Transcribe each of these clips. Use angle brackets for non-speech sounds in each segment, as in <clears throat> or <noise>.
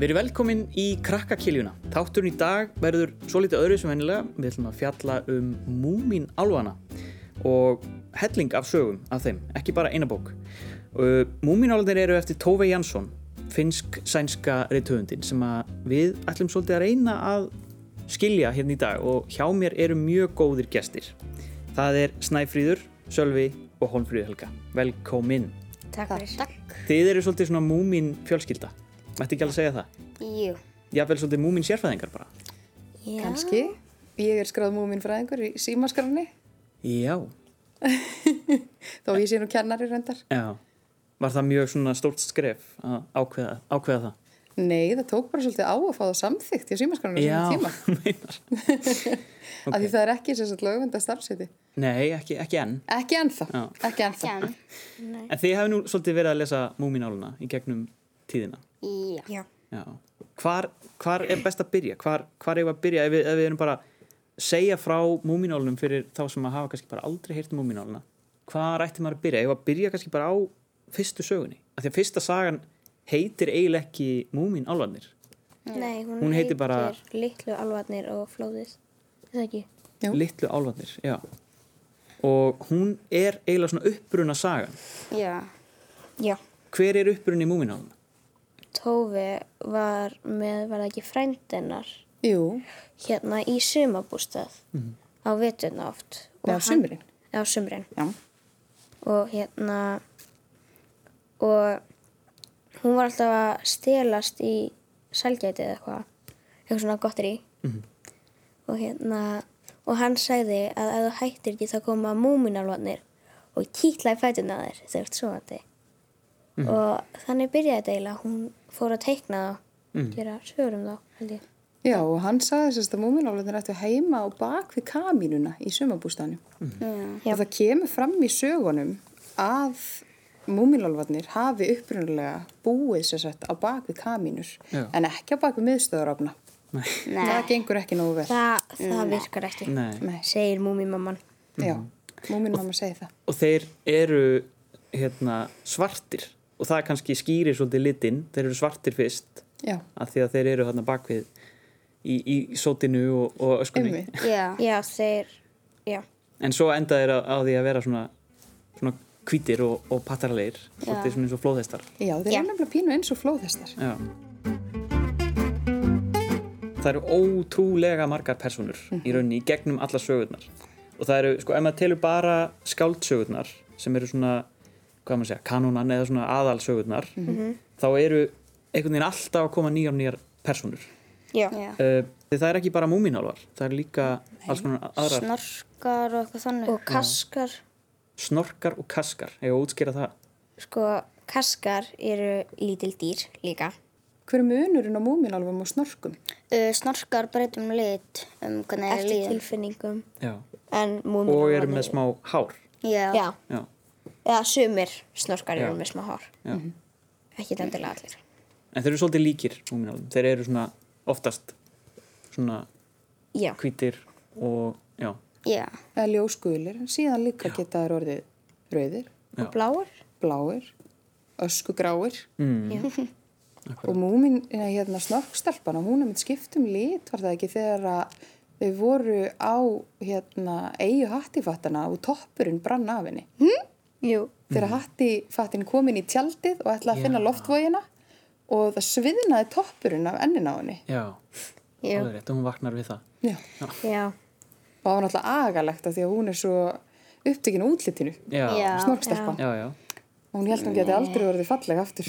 Verið velkomin í Krakkakiljuna. Þátturinn í dag verður svolítið öðru sem hennilega. Við ætlum að fjalla um múmin álfana og helling af sögum af þeim, ekki bara eina bók. Múmin álfanir eru eftir Tove Jansson, finsk-sænska reytöfundin sem að við ætlum svolítið að reyna að skilja hérna í dag og hjá mér eru mjög góðir gestir. Það er Snæfríður, Sölvi og Holmfríður Helga. Velkomin. Takk fyrir. Þið eru svolítið svona múmin fjölskylda. Mætti ekki alveg segja það? Jú. Jafnvel svolítið múmin sérfræðingar bara. Já. Kanski. Ég er skráð múmin fræðingur í símaskarni, Já. þó ég sé nú kennari reyndar. Já. Var það mjög svona stórt skref að ákveða, ákveða það? Nei, það tók bara svolítið á að fá það samþygt í símaskarni á þessum tíma. <laughs> meinar. Af því það er ekki sem sagt lögvenda starfseti. Nei, ekki, ekki enn. Ekki ennþá. Já. Ekki ennþá. Jan. En þið hefur nú svolítið verið að lesa múmináluna í gegnum tíðina. Já. Já, Já. Hvar, hvar er best að byrja? Hvar, hvar eigum við að byrja ef við, ef við erum bara að segja frá múminálunum fyrir þá sem að hafa kannski bara aldrei heyrt múmináluna? Hvar ætti maður að byrja? Ef að byrja kannski bara á fyrstu sögunni. Af því að fyrsta sagan heitir eiginlega ekki múminálvanir. nei, hún, Hún heitir bara- Littlu alvarnir og flóðið Það er ekki Jú. Littlu álvarnir, já Og hún er eiginlega svona uppruna sagan Já. Já Hver er upprunni múmináluna? Tófi var með, var það ekki frændennar Jú. Hérna í sumabústað Á veturna oft Og Nei, á hann- sumrin. Nei, Á sumrin Já. Og hérna Og hún var alltaf að stelast í sælgæti eða eitthvað Eitthvað svona gott er í Og hérna Og hann sagði að ef þú hættir ekki þá koma múminalvarnir Og kýtla í fætuna á þér þegar þú ert svoandi Og þannig byrjaði þetta eiginlega Hún fór að teikna þá Gera sögur um þá held ég Já, og hann sagði sérst að múminálaðin ættu heima á bak við kaminuna í sumabústanum. Já. Mhm. Og það kemur fram í sögunum að múminálfarnir hafi upprunalega búið sér sett á bak við kaminur Já. en ekki á bak við miðstöðarofna. Nei, Það gengur ekki nógu vel. Það, Mm. það virkar ekki, Nei. Nei. segir múmimamman. Já, Mhm. múminmamma segi það. Og þeir eru hérna, svartir Og það kannski skýrir svolítið litinn Þeir eru svartir fyrst Já, af Því að þeir eru hérna bakvið Í, í sótinu og, og öskunni ummi. Já. Já, þeir, já, En svo enda þeir á, á því að vera svona Svona hvítir og, og pattaraleir Svolítið svona eins og flóðhestar Já, þeir eru nefnilega pínu eins og flóðhestar. Já. Það eru ótrúlega margar personur í rauninni í gegnum alla sögurnar og það eru, sko, ef maður telur bara skáldsögurnar sem eru svona, hvað maður segja, kanonan eða svona aðalsögurnar þá eru einhvern veginn alltaf að koma nýjar og nýjar personur já. Já. uh, því það er ekki bara múminálvar það eru líka alls konar aðrar Snorkar og eitthvað þannig. Og kaskar, snorkar og kaskar, hefur að útskýra það sko, kaskar eru lítil dýr líka. Hver er munurinn á múminálfum og snorkum? Uh, snorkar breytum lit um hvernig er Eftir líðan. tilfinningum. Já. En múmir og eru með smá hár Já. Já, Já. eða sumir snorkar Já. eru með smá hár. Já. Ekki dendilega allir. en þeir eru svolítið líkir múminálvum, þeir eru svona oftast svona Já, hvítir og já, Já. Eða ljósgulir, en síðan líka geta þær orðið rauðir, já. bláar. bláir, öskugráir Já. og múmin, nei, hérna snorkstelpana, hún er með skiptum lit, var það ekki, þegar að þau voru á hérna, eigu hattifattana og toppurinn brann af henni. Hm? Jú. Þegar hattifattin kom inn í tjaldið og ætlaði að finna loftvogina og það sviðnaði toppurinn af ennin á henni. já, Já. alveg rétt og hún vaknar við það Já. Já. Og það var náttúrulega agalegt af því að hún er svo upptekinn á útlitinu, já, Já. snorkstelpan. já, já, Og hún held að hún geti aldrei verið falleg <laughs> aftur.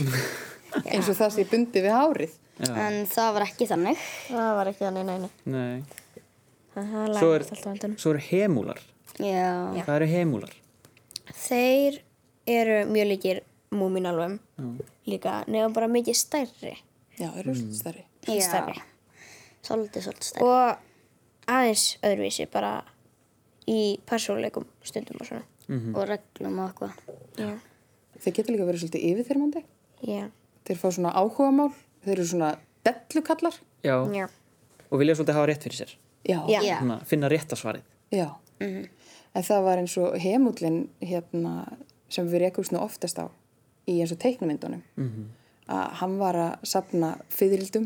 eins og það sé bundið við hárið. En það var ekki þannig. Það var ekki þannig, nei, nei. nei Það svo er, lagast alltaf vandunum. svo eru hemúlar Já. það eru hemúlar Þeir eru mjög líkir múminalvum líka, nefnum bara mikið stærri Já, það eru mm. stærri. Já. Stærri. Svolítið, svolítið stærri. og aðeins öðruvísi bara í persónuleikum stundum og svona. Mhm. Og, og reglum og eitthvað. Já. Þeir getur líka verið svolítið yfirþyrmandi. Já. Þeir fá svona áhugamál, þeir eru svona dellukallar. já. Já. og vilja svolítið hafa rétt fyrir sér Já. Já. Já. Svona, finna rétta svarið Já. Mhm. En það var eins og hemullin hérna, sem við rekumst nú oftast á í eins og teiknumyndunum. Mm að hann var að sapna fyririldum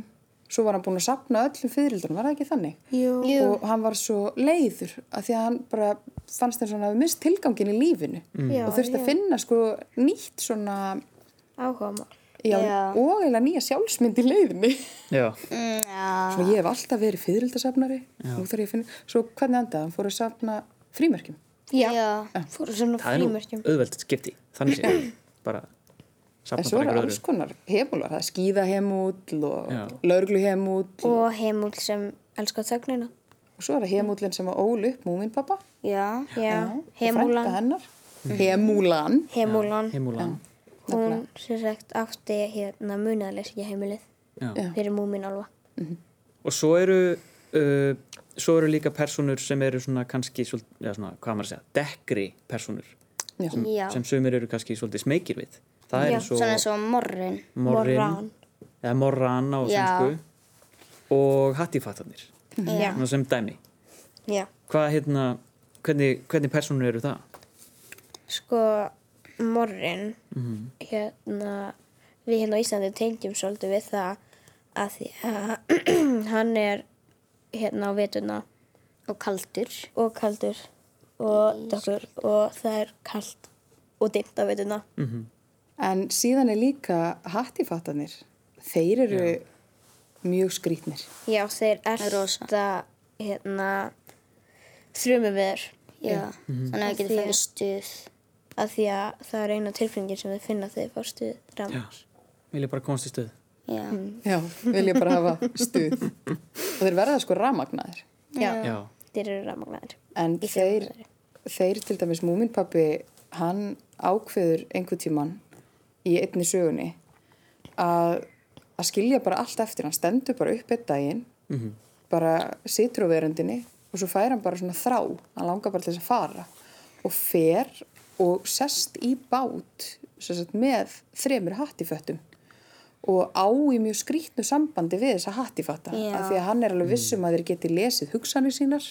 svo var hann búin að sapna öllum fyririldunum, var það ekki þannig? Jú. Jú. og hann var svo leiður að því að hann bara fannst þess að hann hafi mist tilgangin í lífinu Já, og þurfti já. að finna sko nýtt svona Áhuga mál. já, Já. og eða nýja sjálfsmynd í leiðinni Já, Mm, Ah. já. svona ég hef alltaf verið fyririldasafnari nú þarf ég að finna, svo hvernig endaði hann fór að safna frímerkjum Já. Fóru svona það er nú frímörkjum. auðveld skipti þannig sé bara safna en svo bara eru ykkur alls öðru konar heimúlar, það er skíðahemúll Já. og laurugluhemúll Og heimúl sem elskar þögnina. og svo er það hemúllin sem að ól upp múminpappa Já. Já. og frænka Heimúlan. hennar Mhm. hemúlan Heimúlan. heimúlan Hún sem sagt átti hérna munaðarleysingja heimilið Já. fyrir múminálfa. og svo eru uh, svo eru líka persónur sem eru svona kannski, svol- eða svona, hvað á maður að segja dekkri persónur Já. sem, Já. sem sumir eru kannski svolítið smekir við það er Já, eins Svona eins og og morrin. morrin Morran. eða morran á Já. svensku og hattifattarnir Já. svona sem dæmi Já. hvað hérna, hvernig, hvernig persónur eru það? Sko, morrin, hérna, við hérna á Íslandi tengjum svolítið við það að því að <clears throat> hann er hérna á vetuna Og kaldur. og kaldur og dökkur og það er kalt og dimmt á vetuna. En síðan er líka hattifattanir. Þeir eru mjög skrítnir. Já, þeir Rosa. elsta hérna þrjumum viður Já. Mhm. Þannig að það getur Því- fengið stuð. að því að það er eina tilfinningin sem þau finna þegar þau fórstu fram. vil ég bara komast í stöð Já. Mm. Já, vil ég bara hafa stuð. <laughs> Og þeir verða sko ramagnaðir. Já. já, Þeir eru rafmagnaðir. En Í þeir, fjölmiðli. þeir til dæmis múminpappi, hann ákveður einhver tíman í einni sögunni að, að skilja bara allt eftir. Hann stendur bara upp einn daginn, bara situr á verundinni og svo fær hann bara svona þrá. Hann langar bara til þess að fara og fer og sest í bát sem sagt, með þremur hattiföttum og á í mjög skrítnu sambandi við þessa hattifatta Já. af því að hann er alveg vissum að þeir geti lesið hugsanir sínar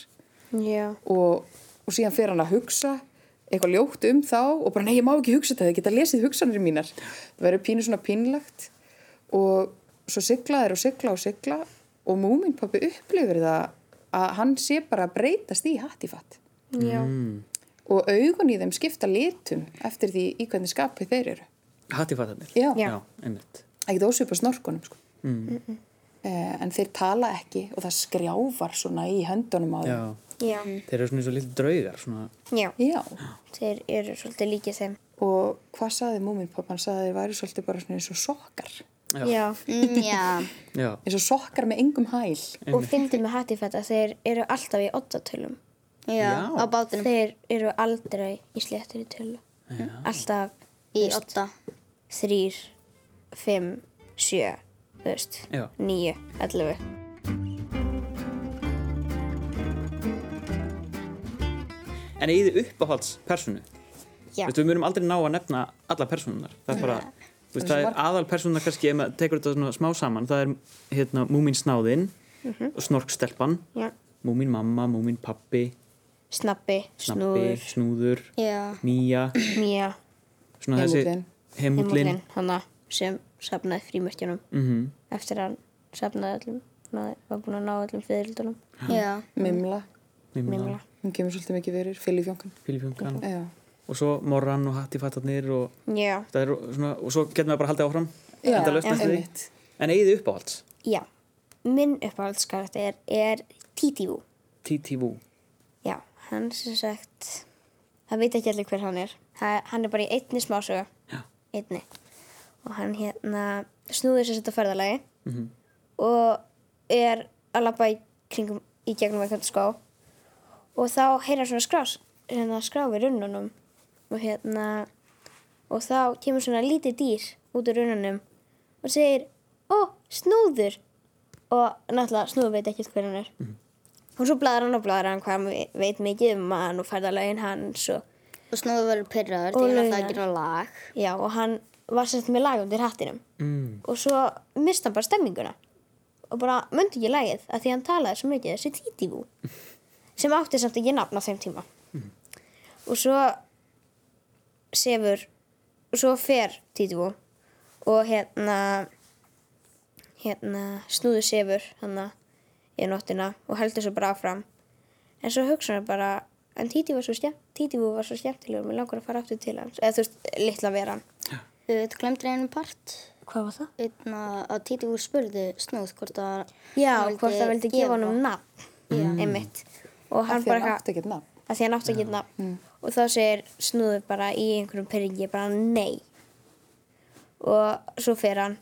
Já. og, og síðan fer hann að hugsa eitthvað ljótt um þá og bara nei, ég má ekki hugsa þetta, ég geta lesið hugsanir mínar það verður pínu svona pínlagt og svo sigla þeir og sigla og sigla og múminpappi upplifir það að hann sé bara að breytast í hattifatt Já. og augun í þeim skipta litum eftir því í hvernig skapi þeir eru hattifattarnir Já. já, einmitt ekkert ósvipa snorkunum sko. Eh, en þeir tala ekki og það skrjáfar svona í höndunum á þeim já. Já. Þeir eru svona eins og lítið draugar svona, Já. Já. Þeir eru svolítið líkið þeim. Og hvað saði múminpappa? Hann saði að þeir væri svolítið bara svona eins og sokkar. Já. Já. Mm, <laughs> já. Já, Eins og sokkar með engum hæl. Og fyndið með hattifætt að þeir eru alltaf í oddatölum. Já. Já. Á bátunum. Þeir eru aldrei í sléttir í tölu. Alltaf Í otta. þrýr, fimm, sjö, þú veist, Já. níu, ellefu. En eigið þið uppáhalds personu Já. Við munum aldrei ná að nefna alla personunar Það er bara, þú veist, Það er það svo er aðal personunar kannski ef maður tekur þetta svona smá saman það er hérna Múmin Snáðinn og Snorkstelpan, Já. Múmin Mamma Múmin Pappi, Snappi, Snappi, snúður, Snúður Já. Mía, mía, svona Heimullinn. þessi Hemullin heimúlin, hana sem safnaði frímörkjunum Mm. Mhm. -hmm. eftir að hann safnaði öllum, maður var búin að ná öllum fyririldunum. Já. Mimla. Mimla, Mimla. Hún kemur svolítið mikið fyrir. Filifjónkan. Filifjungan Já. og svo Morran og Hattifattarnir og, Já. það er svona, og svo getur maður bara haldið áfram Já, endalaust næstum því. einmitt. En eigið þið uppáhalds Já. Minn uppáhaldskarakter er Títífú. TTV Já, hann sem sagt, það veit ekki allir hver hann er. Það, hann er bara í einni smásögu. Já. Einni. Og hann hérna snúður sér þetta ferðalagi -hmm. og er að labba í, kringum, í gegnum eitthvað skó og þá heyra svona skrás, hérna skrá við runnunum og hérna og þá kemur svona lítið dýr út úr runnunum og segir ó, snúður og náttúrulega snúður veit ekki hver hann er og svo bladrar hann og bladrar hann hvað hann ve- veit mikið um hann og ferðalögin hans og, Og snúður verður pyrraður. Og Það er alltaf að laugar. gera lag. já, og hann var sett með lag undir hattinum mm. og svo mista hann bara stemminguna og bara myndi ekki lagið að því hann talaði svo mikið þessi títífú sem átti samt ekki nafn á þeim tíma og svo sefur og svo fer títífú og hérna hérna snúðu sefur hann í nóttina og heldur svo bara áfram en svo hugsa hann bara en Títi var svo, skemmt, Títi var svo skemmtilegur mér langar að fara aftur til hans eða þú veist, litla veran Við glemdur einu part Hvað var það? einna að Títi úr spurði snúð hvort að Já, hann hvort það vildi gefa honum nafn Já. einmitt og af hann því hann bara átti ekkert nafn að því hann átti ekki nafn og þá segir snúður bara í einhverjum pyrringi bara nei og svo fer hann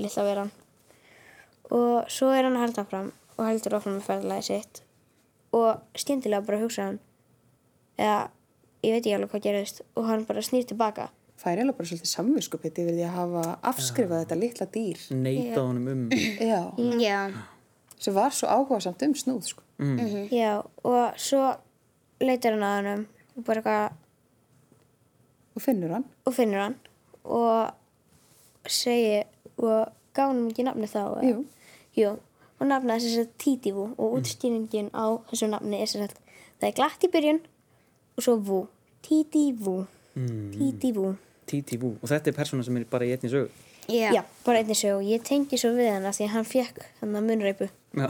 lilla vera hann og svo er hann að halda fram og heldur áfram með ferðalagi sitt og skyndilega bara hugsa hann eða ég veit ekki alveg hvað gerðist og hann bara snýr tilbaka Það er eiginlega bara svolítið samvinskupið yfir því að hafa afskrifað þetta litla dýr neitað honum um Já, Já, sem var svo áhugasamt um snúð sko. já og svo leitar hann að hann og bara eitthvað og finnur hann og finnur hann og segir og gaf hann ekki nafni þá eða? Jú. Mm. Jú, og nafnið er þess að Títivú og útskýringin á þessu nafni er sem sagt það er glatt í byrjun og svo Vú, Títivú Mm. Títivú TTV og þetta er persóna sem er bara í einni sögu já, Já, bara einnig sög og ég tengi svo við hann af því að hann fekk hann að <laughs> munreipu já,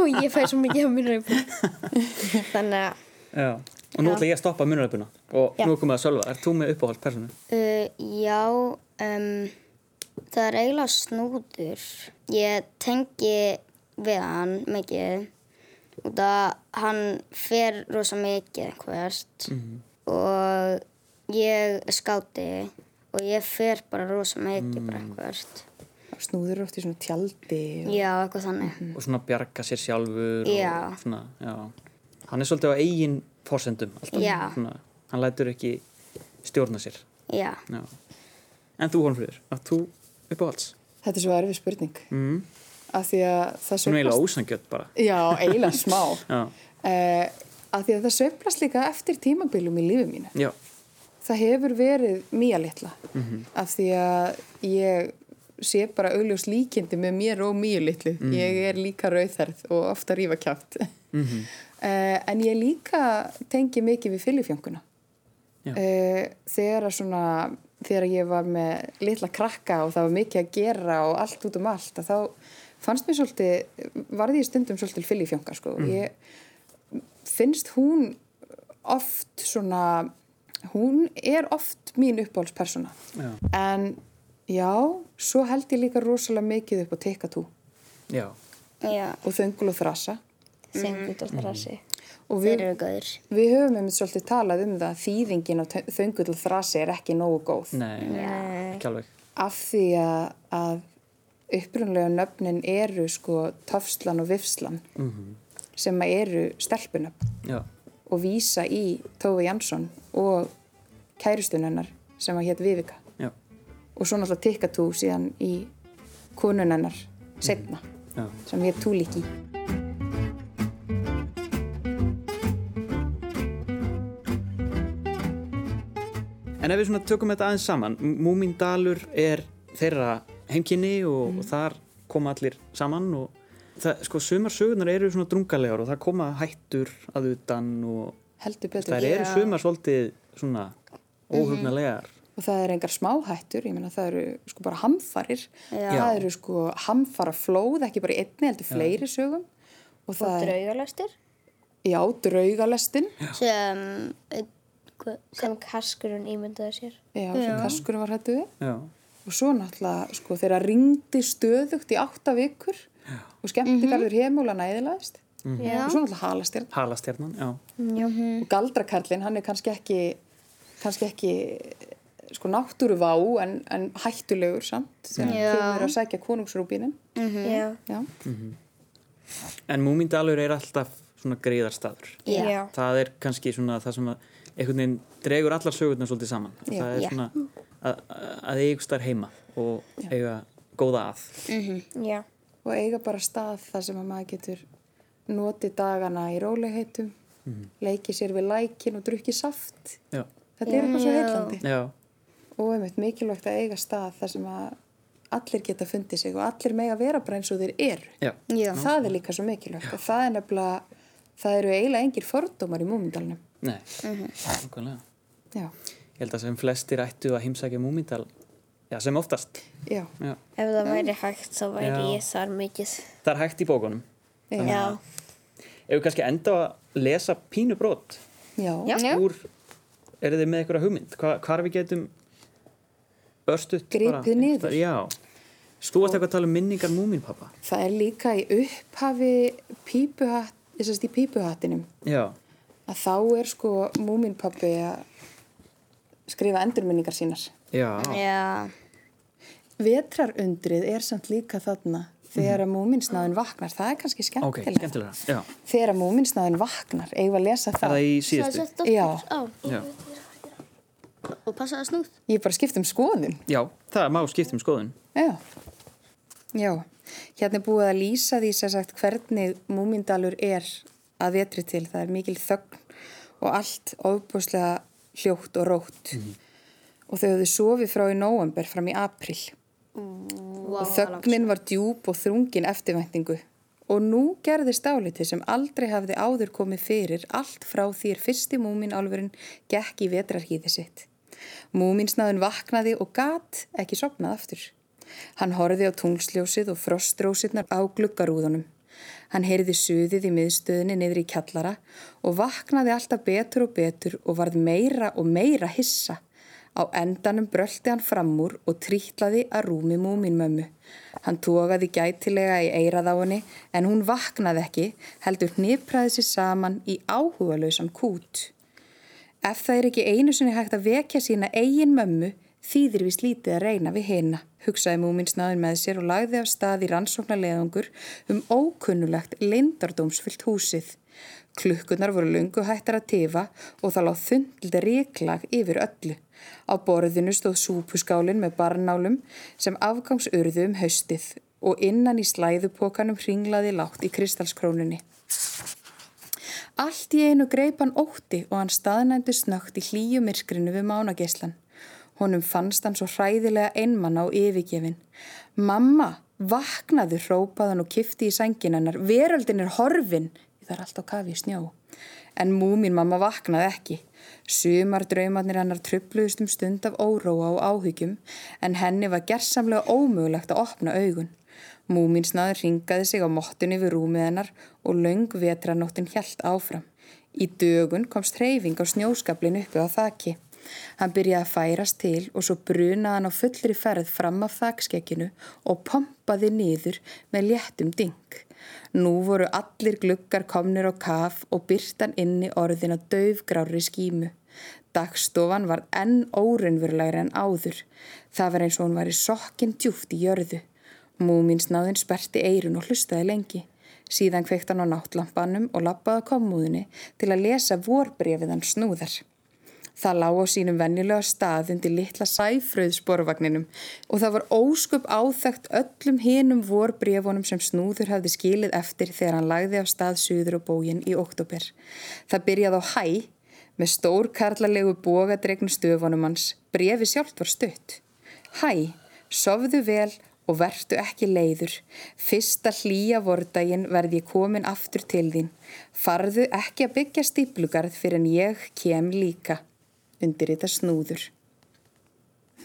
og ég fæ svo mikið af munreipu þannig að já. og nú Já. ætla ég að stoppa munurleipuna og Já. nú er komið að sölva, er þú með uppáhald persónu? Uh, já, um, það er eiginlega snúður. Ég tengi við hann mikið út að hann fer rosa mikið einhvert og ég er skáti og ég fer bara rosa mikið bara einhvert. snúður eru oft í svona tjaldi Mm. og... Já, eitthvað þannig. Mhm. og svona bjarga sér sjálfur Já. og svona, já hann er svolítið á eigin fórsendum alltaf, Já. svona, hann lætur ekki stjórna sér Já, já. en þú Hólmfríður, að þú uppáhalds þetta er svo erfið spurning mm. af því að það svona sveiflast- eiginlega ósangjöld bara Já, eiginlega smá <laughs> já, uh, af því að það sveiflast líka eftir tímabilum í lífi mínu já, það hefur verið mjög litla af því að ég sé bara augljós líkindi með mér og mjög litlu ég er líka rauðherð og ofta rífa kjátt <laughs> en ég líka tengi mikið við fyllifjönguna Já. uh, þegar að svona þegar ég var með litla krakka og það var mikið að gera og allt út um allt að þá fannst mér svolítið varði ég stundum svolítið fyllifjönga sko. ég finnst hún oft svona hún er oft mín uppáhaldspersona Já. en já, svo held ég líka rosalega mikið upp á teikatú já já, og þöngul og þrasa þengur Mm. þetta rassi og þeir við, eru góður. við höfum einmitt svolítið talað um það að þýðingin á þöngul og þrasi er ekki nógu góð nei, ekki alveg af því að, að upprunlega nöfnin eru sko töfslan og vifslan Mhm. sem að eru stelpunöfn já, og vísa í Tófi Jansson og kærustunennar sem að hétt Vivika já, og svo náttúrulega tikkatú síðan í konunennar setna já sem hétt Túliki. En ef við svona tökum þetta aðeins saman, Múmindalur er þeirra heimkynni og, og þar koma allir saman og það, sko, sumar sögurnar eru svona drungalegar og það koma hættur að utan og Heldur betur. það eru sumar svolítið svona óhugnalegar. Og það eru engar smáhættur, ég meina það eru sko bara hamfarir. Já. Það eru sko hamfara flóð, ekki bara í einni heldur fleiri sögum. Og það og er, draugalestir já, draugalestin. Sem, eitthvað, sem kaskurinn ímyndaði sér Já, sem kaskurum var hættu við. Já, Og svo náttúrulega sko þeirra ringdi stöðugt í átta vikur já. og skemmtigarður mm -hmm. heimúlan æðilaðist. Já. Og svo náttúrulega halastjarn. halastjarnan, já. og galdrakarlinn, hann er kannski ekki kannski ekki sko náttúruvá en, en hættulegur samt sem Já. kemur að sækja konungsrúbinin já, já, En Múmindalur er alltaf svona greiðarstaður. Já. já. Það er kannski svona það sem að einhvern veginn dregur allar sögurnar svolítið saman. Já, það er Já. svona að, að eiga starf heima og eiga góða að. Mm. já. og eiga bara stað þar sem að maður getur notið dagana í rólegheitum leikið sér við lækin og drukkið saft Já, þetta er eitthvað svo heillandi já. og einmitt mikilvægt að eiga stað þar sem að allir geta fundið sig og allir mega vera bara eins og þeir eru Já, Já. það er líka svo mikilvægt og það er nefnilega það eru eiginlega engir fordómar í múmindalunum nei, nákvæmlega. já Ég held að sem flestir ættu að heimsækja múmindal Já, sem oftast. já, Já. Ef það væri hægt þá væri Já. ég þar mikið. Það er hægt í bókunum. já, Já. Ef við kannski enda á að lesa pínu brot já. Já. úr, er þið með einhverja hugmynd? Hva, hvar við getum örstuð Gripið niður. Já. Þú varst eitthvað að tala um minningar múmin, pappa. Það er líka í upphafi pípuhatt, ég sérst í pípuhattinum Já. að þá er sko múminpappi að skrifa endurminningar sínar. Já. Já. Vetrarundrið er samt líka þarna þegar að múminsnáðin vaknar. Það er kannski Ok, skemmtilega. skemmtilega. Já. Þegar að múminsnáðin vaknar, eigum við að lesa Er það. það í síðustu? Já. Á, Já. og passaði snúð. Ég bara skipt um skoðun. Já, það má skipta um skoðun. Já. Já. Hérna er búið að lýsa því sem sagt hvernig múmindalur er að vetri til. Það er mikil þögn og allt ofbúslega hljótt og rótt. Mhm. Og þau höfðu sofið frá í nóvember fram í april. Wow, og þögnin var djúb og þrungin eftirvæntingu. Og nú gerðist áliti sem aldrei hafði áður komið fyrir allt frá því er fyrsti múmin álfurinn gekk í vetrarhýði sitt. Múminsnaðun vaknaði og gat ekki sopnað aftur. Hann horfið á tunglsljósið og frostrósirnar á gluggarúðunum. Hann heyrði suðið í miðstöðinni niður í kjallara og vaknaði alltaf betur og betur og varð meira og meira hissa. Á endanum bröldi hann fram úr og trítlaði að rúmi múminmömmu. Hann tókaði gætilega í eirað á henni en hún vaknaði ekki, heldur hnipraði sér saman í áhugalausan kút. Ef það er ekki einu sinni hægt að vekja sína eigin mömmu, þýðir við slítið að reyna við hina, hugsaði múminsnaðin með sér og lagði af stað í rannsóknarleðungur um ókunnulegt lindardómsfyllt húsið. Klukkunar voru lungu hættar að tefa og það láð þundlita ríklag yfir öllu. Á borðinu stóð súpuskálin með barnálum sem afgangsurðu um haustið og innan í slæðupokanum hringlaði látt í kristalskrónunni. Allt í einu greip hann ótti og hann staðnændi snögt í hlýju myrkrinu við mánageislan. Honum fannst hann svo hræðilega einmann á yfirgefin. Mamma, vaknaðu, hrópað hann og kifti í sængin hennar. Veröldin er horfin. Það er allt á kafi í snjó. En múmin mamma vaknaði ekki. Sumar draumarnir hennar trubluðust um stund af óróa og áhyggjum en henni var gersamlega ómögulegt að opna augun. Múminsnaður ringaði sig á mottunni við rúmið hennar og löng vetranóttin hjælt áfram. Í dögun komst hreyfing á snjóskablin uppi á þaki. Hann byrjaði að færast til og svo brunaði hann á fullri ferð fram af þakskekkinu og pompaði niður með léttum ding. Nú voru allir gluggar komnir á kaf og byrtan inni orðin að döfgrári skímu. Dagstofan var enn órunverulegri en áður. Það var eins og hún var í sokkinn djúft í jörðu. Múminsnáðin sperti eirun og hlustaði lengi. Síðan kveikt hann á náttlampanum og lappaði á kommúðinni til að lesa vorbrefið hann snúðar. Það lá á sínum vennilega stað undir litla sæfröðsporvagninum og það var ósköp áþægt öllum hinum vorbrefunum sem snúður hafði skilið eftir þegar hann lagði af stað suður og bógin í oktober. Það byrjaði á hæ með stórkarlalegu bógadregnu stöfunum hans. Brefi sjálft var stutt. Hæ, sofðu vel og vertu ekki leiður. Fyrsta hlýja vordaginn verð ég komin aftur til þín. Farðu ekki að byggja stíplugarð fyrir en ég kem líka. Undir þetta snúður.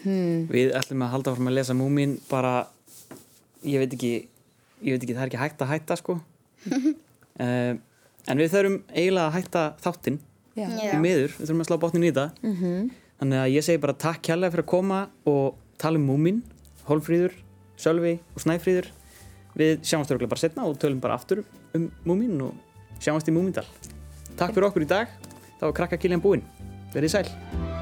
Við ætlum að halda áfram að lesa múmin bara, ég veit ekki, ég veit ekki, það er ekki hægt að hætta sko. uh, en við þurfum eiginlega að hætta þáttinn Já. í miður, við þurfum að slá botnin í það. Þannig að ég segi bara takk kjærlega fyrir að koma og tala um múmin, Hólfríður, Sölvi og Snæfríður. Við sjáumst örgulega bara setna og tölum bara aftur um múmin og sjáumst í múmindal. Takk fyrir okkur í dag, þá er krakka búinn. Verðið sæl.